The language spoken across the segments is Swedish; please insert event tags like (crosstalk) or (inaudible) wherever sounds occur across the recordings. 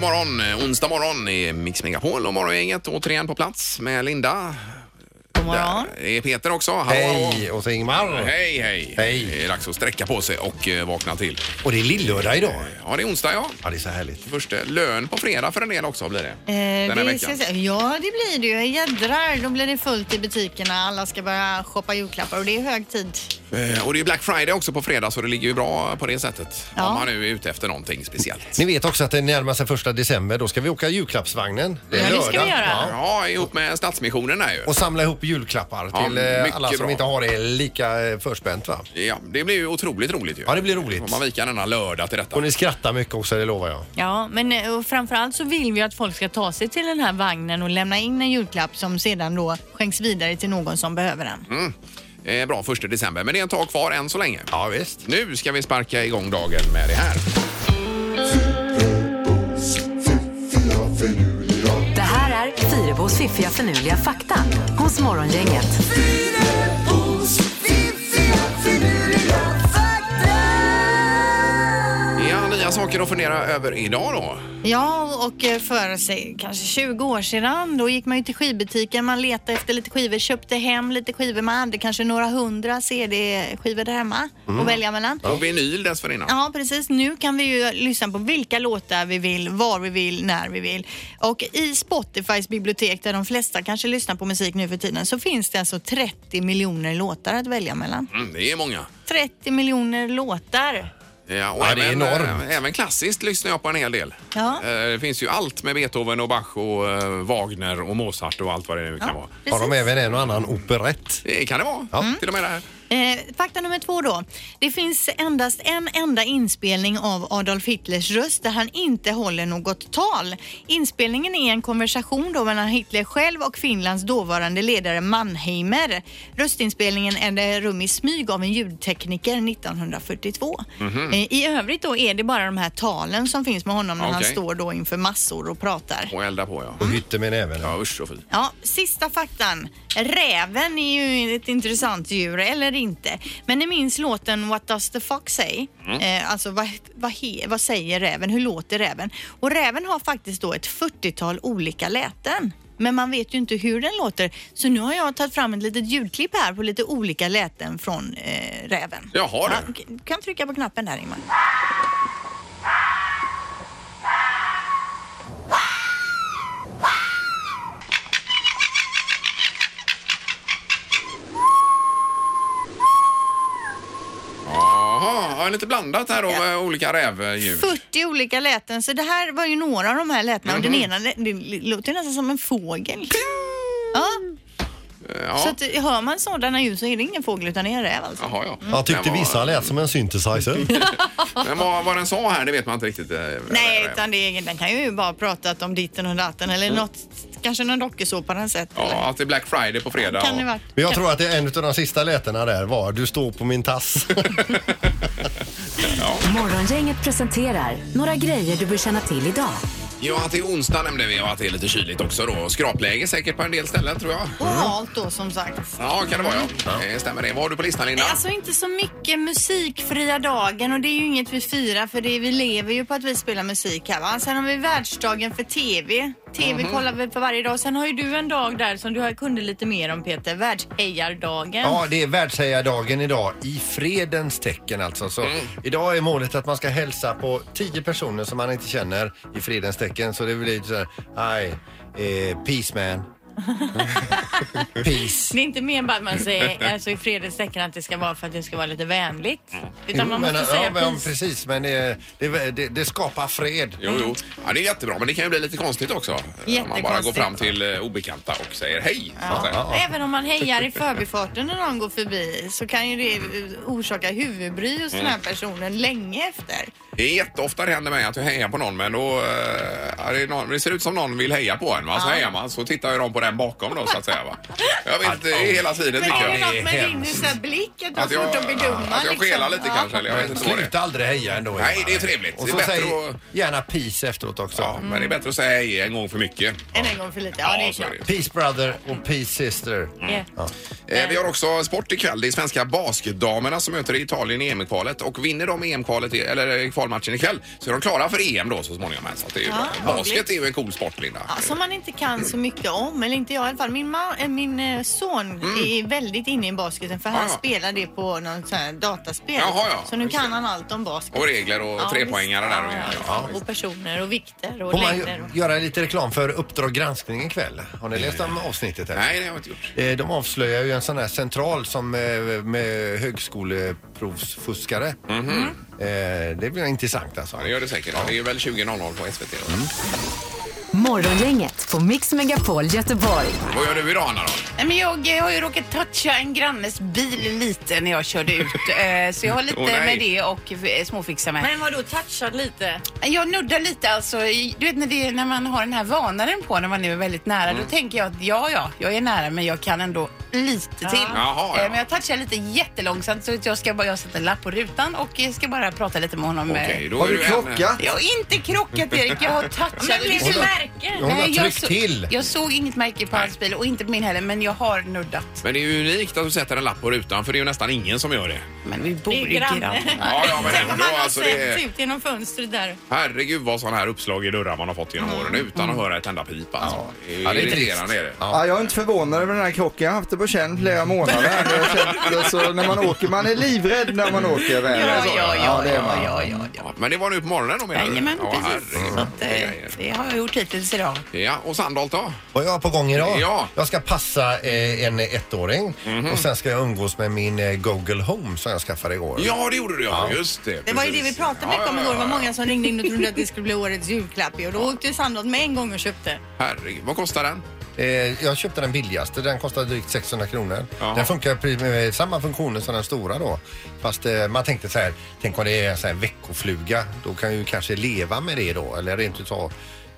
morgon, eh, onsdag morgon i Mix Megapol och morgongänget återigen på plats med Linda. God morgon. Där är Peter också. Hallå, Hej! Och så Ingmar. hallå. Hej, hej. Hej. Det är dags att sträcka på sig och eh, vakna till. Och det är lillördag idag. Ja, det är onsdag ja. Ja, det är så härligt. Första lön på fredag för en del också blir det. Eh, Den här det veckan. ska jag säga. ja, det blir det ju. Jädrar, då blir det fullt i butikerna. Alla ska börja shoppa julklappar och det är hög tid. Eh, Och det är Black Friday också på fredag så det ligger ju bra på det sättet. Ja. Om man nu är ute efter någonting speciellt. Ni vet också att det närmar sig första december. Då ska vi åka julklappsvagnen. Ja, det ska vi göra. Ja, ihop med Stadsmissionen där ju. Och samla ihop julklappar Ja, till eh, mycket alla som bra. inte har det lika eh, förspänt va? Ja, det blir ju otroligt roligt ju. Ja, det blir roligt. Får man vika denna lördag till detta. Och ni skrattar mycket också, det lovar jag. Ja, men eh, och framförallt så vill vi att folk ska ta sig till den här vagnen och lämna in en julklapp som sedan då skänks vidare till någon som behöver den. Eh, bra, första december. Men det är ett tag kvar än så länge. Ja, visst. Nu ska vi sparka igång dagen med det här. Det här är Fyrabos fiffiga förnuliga fakta hos Morgongänget. Ja, nya saker att fundera över idag då. Ja, och eh, för sig, kanske 20 år sedan då gick man ju till skivbutiken. Man letade efter lite skivor, köpte hem lite skivor. Man hade kanske några hundra CD-skivor där hemma Mm. att välja mellan. Och vinyl dessförinnan. Ja, precis. Nu kan vi ju lyssna på vilka låtar vi vill, var vi vill, när vi vill. Och i Spotifys bibliotek, där de flesta kanske lyssnar på musik nu för tiden, så finns det alltså 30 miljoner låtar att välja mellan. Mm, det är många. 30 miljoner låtar! Ja, och Ja, det är även, enormt. eh, även klassiskt lyssnar jag på en hel del. Ja. Eh, Det finns ju allt med Beethoven och Bach och eh, Wagner och Mozart och allt vad det nu kan vara. Har de precis. även en och annan operett? Det kan det vara. Mm. Till och med det här. Eh, fakta nummer två då. Det finns endast en enda inspelning av Adolf Hitlers röst där han inte håller något tal. Inspelningen är en konversation då mellan Hitler själv och Finlands dåvarande ledare Mannheimer. Röstinspelningen ägde rum i smyg av en ljudtekniker 1942. eh, I övrigt då är det bara de här talen som finns med honom när han Okej. står då inför massor och pratar. Och elda på ja. Och hytter med näven. Ja, usch och fy. Ja, sista faktan. Räven är ju ett intressant djur, eller inte. Men ni minns låten What does the fox say? Eh, alltså, vad, vad, he, vad säger räven? Hur låter räven? Och räven har faktiskt då ett 40-tal olika läten. Men man vet ju inte hur den låter. Så nu har jag tagit fram ett litet ljudklipp här på lite olika läten från eh, räven. Jaha, du. Ja, Du kan trycka på knappen där, Ingmar. Jaha, ja, lite blandat här då med olika rävdjur. 40 olika läten, så det här var ju några av de här lätena. Och den ena lä- det låter nästan som en fågel. Ja, så Ja. att, hör man sådana ljud så är det ingen fågel utan det är en räv alltså. Jaha, ja. Jag tyckte Men vad- vissa lät som (laughs) en synthesizer. Men vad, vad den sa här, det vet man inte riktigt. eh, Nej, räven. utan det är, den kan ju bara prata om ditten och datten eller något, kanske någon dokusåpa den sett. Ja, eller? att det är Black Friday på fredag. Kan det vara? Men jag tror att det är en av de sista lätena där var Du står på (laughs) min tass. Morgongänget presenterar några grejer du bör känna till idag. Ja, att det är onsdag nämnde vi och att det är lite kyligt också då. Skrapläge säkert på en del ställen tror jag. Och halt då som sagt. Ja, kan det vara ja. Eh, Stämmer det. Vad har du på listan Linda? Alltså inte så mycket musikfria dagen och det är ju inget vi firar för det är, vi lever ju på att vi spelar musik här va. Sen har vi världsdagen för TV. TV Mhm. kollar vi på varje dag. Sen har ju du en dag där som du har- kunde lite mer om Peter. Världshejardagen. Ja, det är världshejardagen idag i fredens tecken alltså. Så Mm. Idag är målet att man ska hälsa på tio personer som man inte känner i fredens tecken. Så det blir så här, hi, eh, peace man. (laughs) peace. Det är inte mer bara att man säger (laughs) alltså, i fredens tecken att det ska vara för att det ska vara lite vänligt. Utan man måste Mm. men, säga ja, men, precis. precis, men det, det, det, det skapar fred. Jo, jo. Ja, det är jättebra, men det kan ju bli lite konstigt också. Eh, Om man bara går Jättekonstigt. fram till eh, obekanta och säger hej. så att säga. Även om man hejar i förbifarten när någon går förbi så kan ju det eh, orsaka huvudbry hos den Mm. här personen länge efter. Det är jätteofta det händer mig att jag hejar på någon, men då... eh, ja, det, är någon, det ser ut som någon vill heja på en, va? Så hejar man, så tittar ju de på den bakom då, så att säga. Va? Jag (laughs) vet inte, det är hela tiden Men tycker är det jag. något med din hemskt. så här blick att du har Att jag, svårt att bedöma? att jag skelar lite liksom. Ja. kanske, eller jag vet inte vad det är. Sluta aldrig heja ändå. Nej, Ingmar. det är trevligt. Och Det är så bättre säg att- gärna peace efteråt också. Ja, men det är bättre att säga hej en gång för mycket. En, en gång för lite, Mm. ja det är så klart. är det. Peace brother och peace sister. Ja. Eh, Vi har också sport ikväll. Det är svenska basketdamerna som möter Italien i EM-kvalet. Och vinner de EM-kvalet, i- eller eh, kvalmatchen ikväll. Så är de klara för EM då så småningom. här. Så att det är ju Ja, bra. Basket roligt. är ju en cool sport, Linda. Ja, som man inte kan så mycket om, eller inte jag i alla fall. Min, ma- eh, min eh, son är väldigt inne i basketen för han Mm. Ja, ja. spelar det på någon sån här dataspel. Jaha, ja. Så nu Just kan det. han allt om basket. Och regler och trepoängare visst. där och Ja, grejer. ja, Ja, och personer och vikter och Får man längder. ju- Och... göra lite reklam för Uppdrag granskning ikväll? Har ni läst om avsnittet? Eller? Nej, det har jag inte gjort. Eh, De avslöjar ju en sån här central som eh, med högskoleprovsfuskare. Eh, Det blir intressant alltså. Mhm. Ja, det gör det säkert. Det är ju väl 20.00 på SVT. då. Mm. Morgongänget på Mix Megapol Göteborg. Vad gör du idag, Anna? Då? Nej, Men jag eh, har ju råkat toucha en grannes bil lite när jag körde (laughs) ut. eh, Så jag har lite Åh, nej. med det och eh, småfixa med. Men vadå, touchad lite? Jag nuddar lite alltså. i- Du vet när, det, när man har den här vanaren på när man nu är väldigt nära. Mm. Då tänker jag att ja, ja, jag är nära men jag kan ändå lite till. Jaha, Eh, ja. Men jag touchar lite jättelångsamt så att jag ska bara, jag sätter en lapp på rutan och eh, ska bara prata lite med honom. eh. Okej, då Har är du en- krockat? Jag har inte krockat Erik, (laughs) jag har touchat. Men blev Hon det har- märke? Hon har Nej, jag tryckt så- till. Jag såg inget märke på hans bil och inte på min heller men jag har nuddat. Men det är ju unikt att du sätter en lapp på rutan för det är ju nästan ingen som gör det. Men vi bor Det är i granne. (laughs) grann. Ja, ja men Tänk om ändå han har alltså. Det sett är, ut genom fönstret där. herregud vad sådana här uppslag i dörrar man har fått genom åren utan att höra ett enda pip alltså. Det är ju Ja, det är irriterande är det. Ja, jag är inte förvånad över den här krocken. Jag har haft det på känn flera månader. Jag har känt, alltså, när man åker, man är livrädd när man åker väl. Ja, Alltså, ja, ja, det är man. ja, ja, ja. Ja, men det var nu på morgonen då menar Jajamän, du? precis. herregud. Så att, eh, det har jag gjort hittills idag. Ja, och Sandholt då? Vad jag har på gång idag? Ja. Mhm. Jag ska passa eh, en ettåring och sen ska jag umgås med min eh, Google Home som jag skaffade igår. Ja, det gjorde du ja. Just det. Det var ju det precis. vi pratade mycket om Ja, ja, igår. Det var ja, ja. många som ringde in och trodde att det skulle bli årets julklapp. ju. Och då åkte Sandholt med en gång och köpte. Herregud, vad kostar den? Eh, jag köpte den billigaste, den kostade drygt 600 kronor. Jaha. Den funkar pri- med samma funktioner som den stora då. Fast eh, man tänkte så här, tänk om det är en sån här veckofluga, då kan jag ju kanske leva med det då. Eller rent utav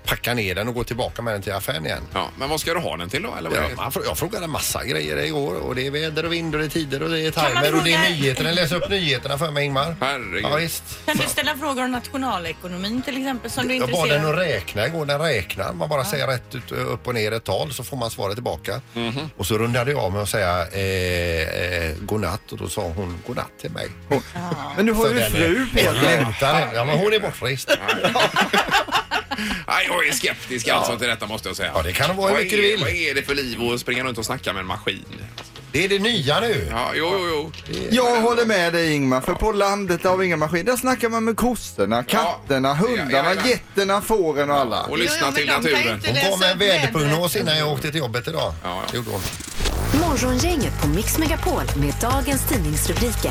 packa ner den och gå tillbaka med den till affären igen. Ja, men vad ska du ha den till då? Eller vad Ja, är det? man frå- jag frågade massa grejer igår och det är väder och vind och det är tider och det är man timer och det är fråga- nyheter. Den läser upp nyheterna för mig Ingmar. Herregud. Ja, visst. Kan du ställa frågor om nationalekonomin till exempel som du är Jag bad den intresserad att av? räkna igår. Den räknar. Man bara säger rätt ut, upp och ner ett tal så får man svaret tillbaka. Och så rundade jag av med att säga eh, eh, godnatt och då sa hon godnatt till mig. Men du har ju fru Peter. Längtar. Ja, men hon är bortrest. Nej, jag är skeptisk alltså till detta måste jag säga. Ja, det kan vara hur Vad mycket du är- vill. Vad är det för liv att springa runt och snacka med en maskin? Det är det nya nu. Ja, jo, jo, jo. Jag håller med dig Ingmar, för på landet har vi inga maskiner. Där snackar man med kossorna, katterna, hundarna, ja, ja. getterna, fåren och alla. Och lyssna Jo, jo, till men de kan ju naturen. inte- Hon kom med en Läser väderprognos innan jag åkte till jobbet idag. Ja, ja. Det gjorde hon. Morgongänget på Mix Megapol med dagens tidningsrubriker.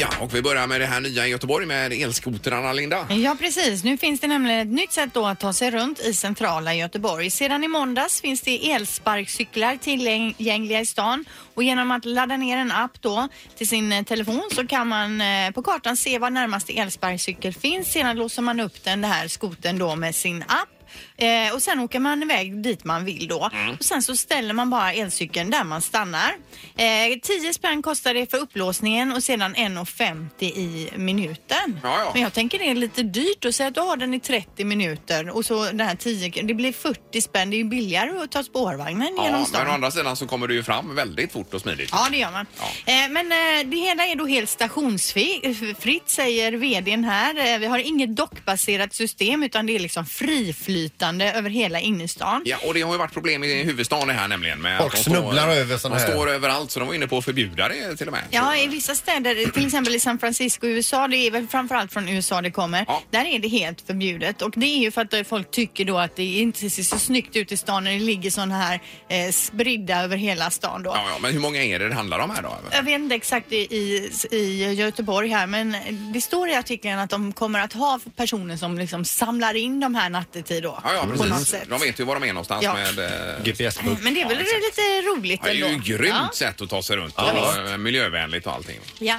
Ja, och vi börjar med det här nya i Göteborg med elskotrarna, Linda. Ja precis, nu finns det nämligen ett nytt sätt då att ta sig runt i centrala Göteborg. Sedan i måndags finns det elsparkcyklar tillgängliga i stan och genom att ladda ner en app då till sin eh, telefon så kan man eh, på kartan se var närmaste elsparkcykel finns. Sedan låser man upp den här skoten då med sin app. Eh, och sen åker man iväg dit man vill då. Mm. Och sen så ställer man bara elcykeln där man stannar. Eh, 10 spänn kostar det för upplåsningen och sedan 1,50 i minuten. Ja, ja. Men jag tänker det är lite dyrt att säga att du har den i 30 minuter och så den här 10, det blir 40 spänn. Det är ju billigare att ta spårvagnen genom Ja, stan. men å andra sidan så kommer du ju fram väldigt fort och smidigt. Ja, det gör man. Ja. Eh, men eh, det hela är då helt stationsfritt säger vdn här. Eh, vi har inget dockbaserat system utan det är liksom friflytande över hela innerstan. Ja, och det har ju varit problem i huvudstaden här nämligen. Med Folk att de snubblar står, över såna De här. står överallt så de var inne på att förbjuda det till och med. Ja, i vissa städer, till exempel i San Francisco i USA, det är väl framförallt från USA det kommer, Ja. där är det helt förbjudet. Och det är ju för att eh, folk tycker då att det inte ser så snyggt ut i stan när det ligger sådana här eh, spridda över hela stan då. Ja, ja, men hur många är det det handlar om här då? Jag vet inte exakt i, i, i Göteborg här men det står i artikeln att de kommer att ha personer som liksom samlar in de här nattetid då. Ja, ja, på något precis. sätt. De vet ju var de är någonstans Ja. med... eh, GPS-bok. Men det är väl lite roligt Det är ju ett ändå? grymt Ja. sätt att ta sig runt och eh, miljövänligt och allting. Ja.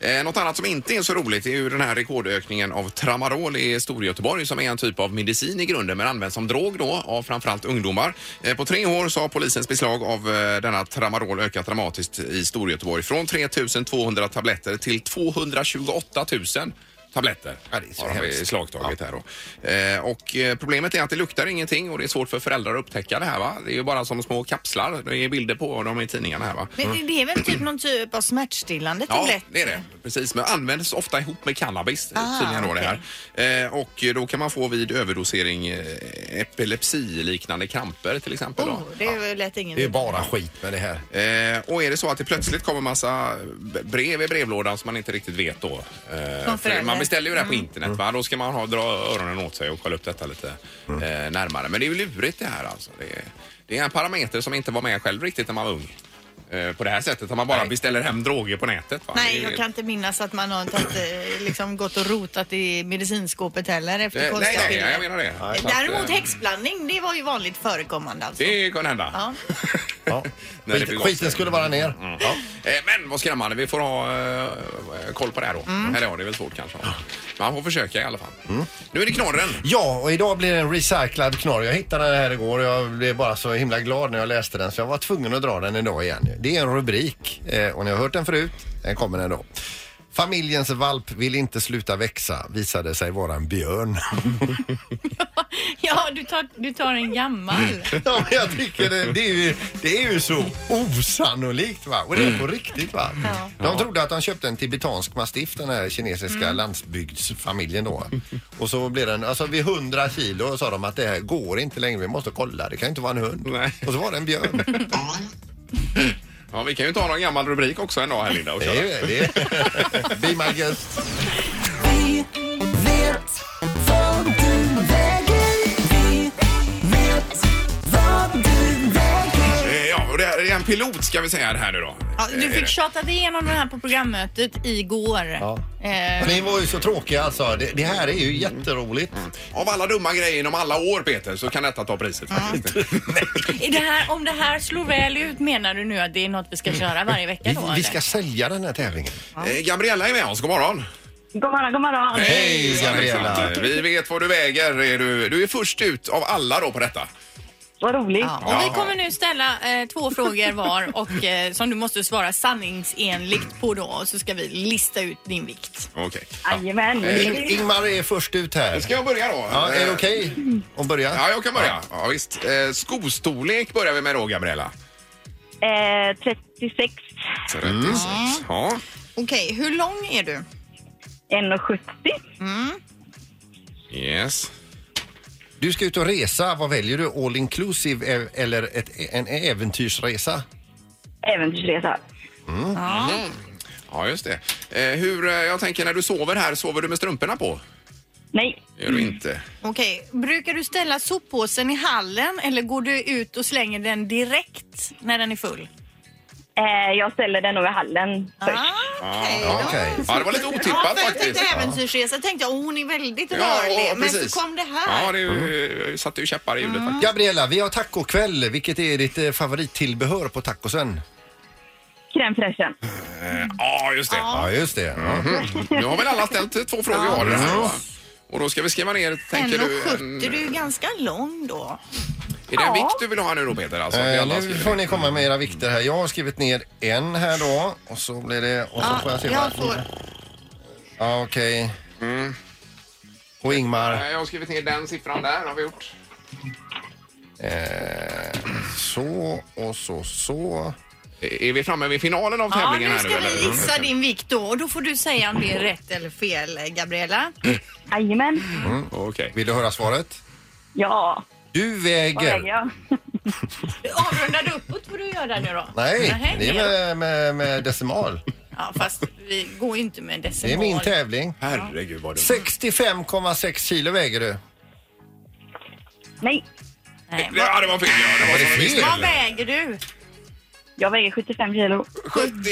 Eh, något annat som inte är så roligt är ju den här rekordökningen av tramadol i Storgöteborg som är en typ av medicin i grunden men används som drog då av framförallt ungdomar. Eh, på tre år så har polisens beslag av eh, denna tramadol ökat dramatiskt i Storgöteborg från 3 200 tabletter till 228 000. tabletter. Ja, det är så har de hemskt. slagtagit här då. Eh, och eh, problemet är att det luktar ingenting och det är svårt för föräldrar att upptäcka det här va? Det är ju bara som små kapslar. Det är bilder på dem i tidningarna här va? Men det- det är väl typ någon typ av smärtstillande Ja, tablett? det är det. Precis, men används ofta ihop med cannabis eh, Ah, tydligen då det här. Eh, och då kan man få vid överdosering eh, epilepsiliknande kramper till exempel. Då. Oh, det lät ingen Det är bara skit med det här. Eh, och är det så att det plötsligt kommer massa b- brev i brevlådan som man inte riktigt vet då. Eh, Som för förälder. Mm. man beställer ju det här på internet va? Då ska man ha, dra öronen åt sig och kolla upp detta lite eh, närmare. Men det är ju lurigt det här alltså. Det är, det är en parameter som inte var med själv riktigt när man var ung. Eh, på det här sättet att man bara beställer hem droger på nätet. Va? Det Nej, är- jag kan inte minnas att man har tagit, eh, liksom, gått och rotat i medicinskåpet heller efter Eh, nej, konstiga nej, piller. jag menar det. Så att, Däremot eh, häxblandning, det var ju vanligt förekommande alltså. Det kan hända. Ja. (laughs) Ja. När det Skit, begår sig. skiten skulle vara ner. Ja. Eh, Men vad skrämmande, vi får ha eh, koll på det här då. Eller ja, det är väl svårt kanske. Man får försöka i alla fall. Mm. Nu är det knorren. Ja, och idag blir det en recyclad knorr. Jag hittade den här igår och jag blev bara så himla glad när jag läste den så jag var tvungen att dra den idag igen. Det är en rubrik eh, och ni har hört den förut. Den kommer den då. Familjens valp vill inte sluta växa visade sig vara en björn. Ja, du tar, du tar en gammal. Mm. (laughs) ja, men jag tycker det, det, är ju, det är ju så osannolikt va. Och det Mm. är på riktigt va. De trodde att de köpte en tibetansk mastiff den här kinesiska Mm. landsbygdsfamiljen då. Och så blev den, alltså vid 100 kilo sa de att det här går inte längre. Vi måste kolla, det kan ju inte vara en hund. Nej. Och så var det (laughs) en björn. Ja, vi kan ju ta någon gammal rubrik också en dag här Linda och det är, köra. ju- det är, be my guest. Vi vet vad du väger. Vi vet vad du väger. Eh, Ja, och det här är en pilot ska vi säga det här nu då. Ja, Eh, du är det. (laughs) fick tjata dig igenom den här på programmötet igår. Eh, Ni var ju så tråkiga alltså. Det, det här är ju jätteroligt. Av alla dumma grejer inom alla år Peter så kan detta ta priset (laughs) faktiskt. är det här, om det här slår väl ut menar du nu att det är något vi ska Mm. köra varje vecka Vi, då? vi eller? ska sälja den här tävlingen. (laughs) Eh, Gabriella är med oss, god morgon. God morgon, god morgon. Hej, Gabriella. Alexander. Vi vet vad du väger. Är du, du är först ut av alla då på detta. Vad roligt. Ja, Ja. och vi kommer nu ställa eh, två frågor var och eh, som du måste svara sanningsenligt på då och så ska vi lista ut din vikt. Okej. Jajamän. Ing- Ingmar är först ut här. Ska jag börja då? Ja, är det Eh, okej att börja? Ja, jag kan börja. Ja, visst. Eh, skostorlek börjar vi med då, Gabriella. Eh, 36, 36. Mm. Ja. Okej, hur lång är du? 1,70. Yes. Du ska ut och resa. Vad väljer du? All inclusive e- eller ett, en äventyrsresa? Äventyrsresa. Ja, just det. Eh, hur, eh, jag tänker när du sover här, sover du med strumporna på? Nej, Gör du inte? Okej, brukar du ställa soppåsen i hallen eller går du ut och slänger den direkt när den är full? eh, jag ställer den över hallen Ah, först. Okej, Ja, då. okej. Ja, det var lite Ja, otippat för jag tänkte faktiskt. äventyrsresa, tänkte jag, oh, hon är väldigt Ja, rörlig. ja, men så precis. kom det här. Mm. Ja, det är ju- eh, satte ju käppar i hjulet faktiskt. Gabriella, vi har tacokväll. Vilket är ditt eh, favorittillbehör på tacosen? Crème fraîchen. Eh, Ja, just det. Ja, Eh, just det. Nu har väl alla ställt två frågor var. det här, va? Och då ska vi skriva ner, tänker du, 1,70, en, du är ju ganska lång då. är det en vikt du vill ha nu då Peter? Alltså, att vi Eh, alla nu skriver får ner. ni komma med era vikter här. Jag har skrivit ner en här då och så blir det... Och så får jag se jag vad... får, Ja, okej. Och Ingmar. Eh, jag har skrivit ner den siffran där, har vi gjort. Eh, så och så så. Eh, Är är vi framme vid finalen av ja, tävlingen nu här ska eller? vi gissa din vikt då och då får du säga om det är rätt eller fel, Gabriella. Jajamän. Mm, Okej. Vill du höra svaret? Ja, Du vad väger väger... jag? Avrundar du uppåt får du göra nu då. Nej, Nähä, det är med, med, med decimal. Ja, fast vi går ju inte med decimal. Det är min tävling. Herregud vad dumt. 65,6 kilo väger du. Nej, Nej, vad, Ja, det var fel. Ja, det var det som vi fel? visste. vad väger du? jag väger 75 kilo. 75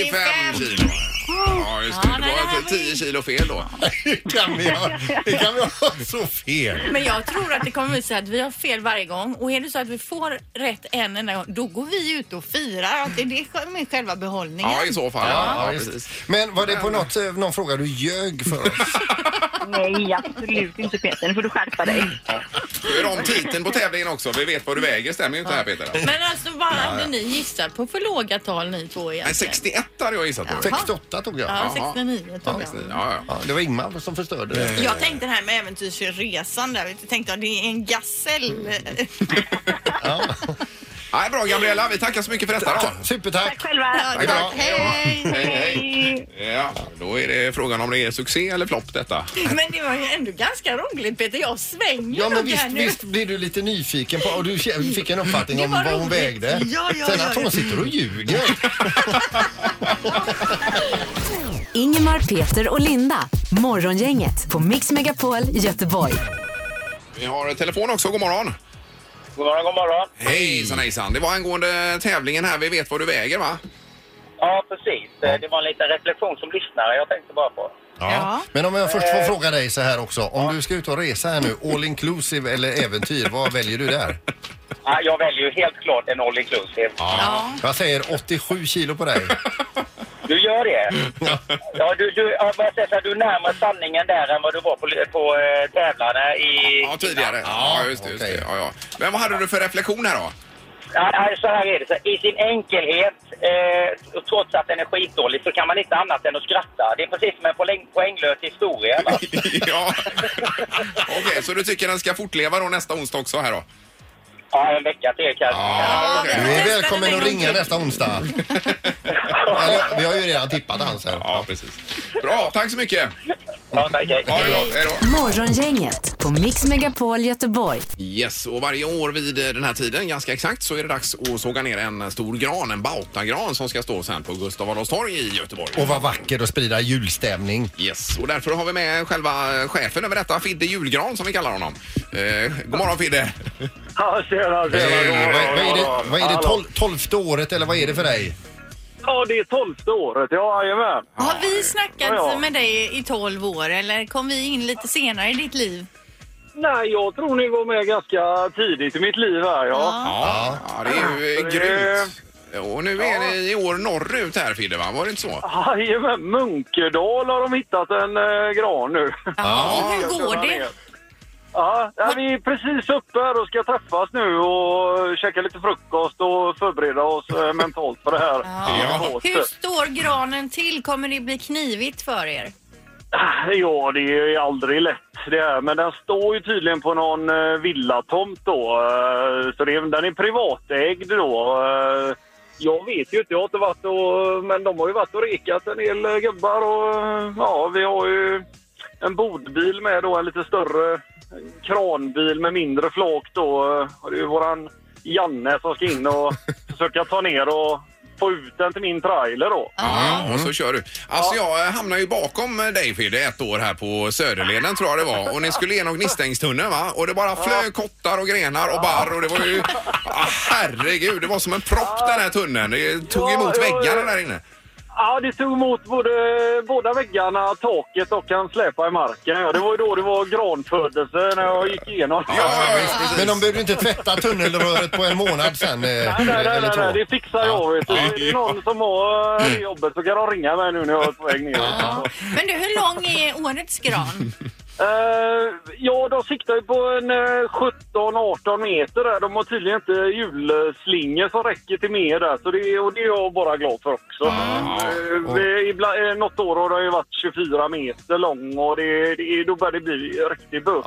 kilo. Ja, just det. Ja, nej, det det var här alltså var 10 ju- kilo fel då. Hur kan vi ha, hur kan vi ha (laughs) så fel? Men jag tror att det kommer visa att vi har fel varje gång och är det så att vi får rätt en enda gång då går vi ut och firar att det är det med själva behållningen. Ja, i så fall. Ja, ja, precis. (laughs) Men var det på något, eh, någon fråga du ljög för oss? Nej, absolut inte Peter. Nu får du skärpa dig. Ja. Du är om titeln på tävlingen också. Vi vet vad du väger. Stämmer ju inte här Peter. Men alltså vad hade ni gissat på för låga tal ni två egentligen? Nej, 61 hade jag gissat på. Ja. 68 tog jag. Ja, Jaha. 69 tror jag. Ja, ja. Ja, det var Ingmar som förstörde Eh. det. Jag tänkte det här med äventyrsresan där. Jag tänkte att det är en gasell. (laughs) Nej, bra Gabriella, vi tackar så mycket för detta då. Supertack! Tack själva. Tack, tack. Hej! Hej, hej. Ja, då är det frågan om det är succé eller flopp detta. Men det var ju ändå ganska roligt Peter. Jag svänger Ja, men nog visst, här nu. visst blir du lite nyfiken på och du ke- fick en uppfattning Det om var vad hon roligt. vägde. Ja, ja, Sen ja, att ja. hon sitter och ljuger. Ingemar, Peter och Linda. Morgongänget på Mix Megapol Göteborg. Vi har telefon också. God morgon. God morgon, god morgon. Hejsan hejsan. Det var angående tävlingen här. Vi vet vad du väger va? Ja, precis. Eh, Det var en liten reflektion som lyssnare jag tänkte bara på. Ja. Men om jag först får fråga dig så här också. Om du ska ut och resa här nu, all inclusive eller äventyr, vad väljer du där? Ah, Jag väljer ju helt klart en all inclusive. Ja. Jag säger 87 kilo på dig. Du (laughs) gör det? Ja, du, du, ja, vad jag säger så här, du är närmare sanningen där än vad du var på, på eh, tävlarna i... Ja, tidigare. Ja, just det. Just det. okej. Ja, ja. Men vad hade du för reflektion här (laughs) då? Ja, ja, så här är det. Så här, I sin enkelhet, eh, och trots att den är skitdålig, så kan man inte annat än att skratta. Det är precis som en poäng, poänglös historia. Va? ja. Okej, så du tycker den ska fortleva då nästa onsdag också här då? Ja, en vecka till kanske. Ja, okej. Du är välkommen att ringa nästa onsdag. Eller, Vi har ju redan tippat hans här. Ja, precis. Bra, tack så mycket. Ja, tack, hej. Ha det gott. Hej då. Morgongänget på Mix Megapol Göteborg. Yes, och varje år vid eh, den här tiden, ganska exakt, så är det dags att såga ner en stor gran, en bautagran som ska stå sen på Gustav Adolfs torg i Göteborg. Och vad vacker att sprida julstämning. Yes, och därför har vi med själva chefen över detta, Fidde Julgran som vi kallar honom. Eh, god morgon Fidde! Ja, tjena, Eh, tjena. vad, vad är det, vad är det tol, tolfte året eller vad är det för dig? Ja, det är tolfte året. Ja, jajamän. Har vi snackat Ja, ja. med dig i 12 år eller kom vi in lite senare i ditt liv? Nej, jag tror ni var med ganska tidigt i mitt liv här. Ja, Ja, ja det är ju eh, Det- grymt. Och nu är ni i år norrut här Fidde, va? Var det inte så? jajamän. Munkedal har de hittat en eh, gran nu. Ja. Hur går det? Ja, ja, vi är precis uppe här och ska träffas nu och käka lite frukost och förbereda oss eh, mentalt för det här. Ja. Hur står granen till? Kommer det bli knivigt för er? Ah, Ja, det är ju aldrig lätt det här. Men den står ju tydligen på någon eh, villatomt då. eh, Så det, är- den är privatägd då. Eh, Jag vet ju inte, jag har inte varit och... Men de har ju varit och rekat en del eh, gubbar och eh, ja, vi har ju en bodbil med då, en lite större kranbil med mindre flak då. Eh, och Det är ju våran Janne som ska in och försöka ta ner och få ut den till min trailer då. Ja, och så kör du. Alltså jag eh, hamnade ju bakom eh, dig Fidde ett år här på Söderleden tror jag det var och ni skulle igenom Gnistängstunneln va? Och det bara flög kottar och grenar och barr och det var ju... Ah, herregud, det var som en propp den här tunneln. Det tog Ja, emot ja, väggarna ja. där inne. Ja, det tog emot både, båda väggarna, taket och en släpa i marken. Ja, det var ju då det var granfödelse när jag gick igenom. Ja, ja, visst, precis. Men de behövde inte tvätta tunnelröret på en månad sen. eh, Nej, nej, nej, eller nej, två. nej, det fixar jag. Vet du. Ja. Är det någon som har eh, det jobbet så kan de ringa mig nu när jag är på väg ner. Ja. Men du, hur lång är årets gran? Eh, ja, de siktar ju på en eh, 17-18 meter där. De har tydligen inte hjulslingor som räcker till mer där. Så det, och det är jag bara glad för också. Eh, vi- ibland, eh, något år har det ju varit 24 meter lång och det, det, då börjar det bli riktigt buff.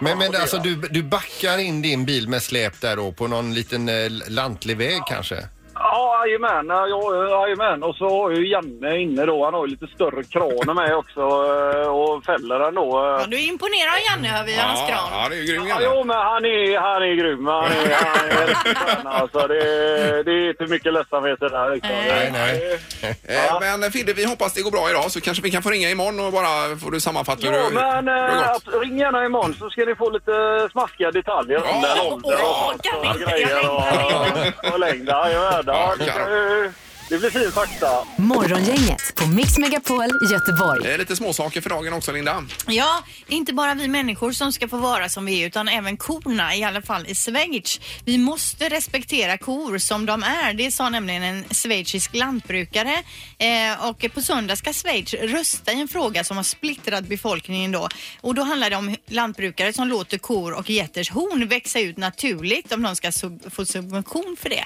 Men, men alltså, du, du backar in din bil med släp där då på någon liten eh, lantlig väg kanske? Ja, jajamän. Ja, jajamän. Och så har ju Janne inne då. Han har ju lite större kran med också eh, och fäller den då. eh, Ja, du imponerar Janne hör vi, hans Ja, gran. ja, det är ju grym Ja, Janne. jo, men han är, han är grym. Han är, han är riktigt skön alltså. Det, det är inte mycket ledsamhet i det här. Liksom. Nej, nej. Eh, Men Fidde, vi hoppas det går bra idag så kanske vi kan få ringa imorgon och bara får du sammanfatta hur Jo, det- men hur det eh, har gått. abs- ring gärna imorgon så ska ni få lite smaskiga detaljer Ja, om den och- åldern och- och, orkar och, inte, jag grejer och, och längd. Ja, jajamän. Ja, Ja, det kan. kan ju- Det blir fin fakta. Morgongänget på Mix Megapol Göteborg. Eh, Lite småsaker för dagen också, Linda. Ja, det är inte bara vi människor som ska få vara som vi är utan även korna, i alla fall i Schweiz. Vi måste respektera kor som de är. Det sa nämligen en schweizisk lantbrukare. Eh, och på söndag ska Schweiz rösta i en fråga som har splittrat befolkningen då. Och då handlar det om lantbrukare som låter kor och getters horn växa ut naturligt om de ska sub- få subvention för det.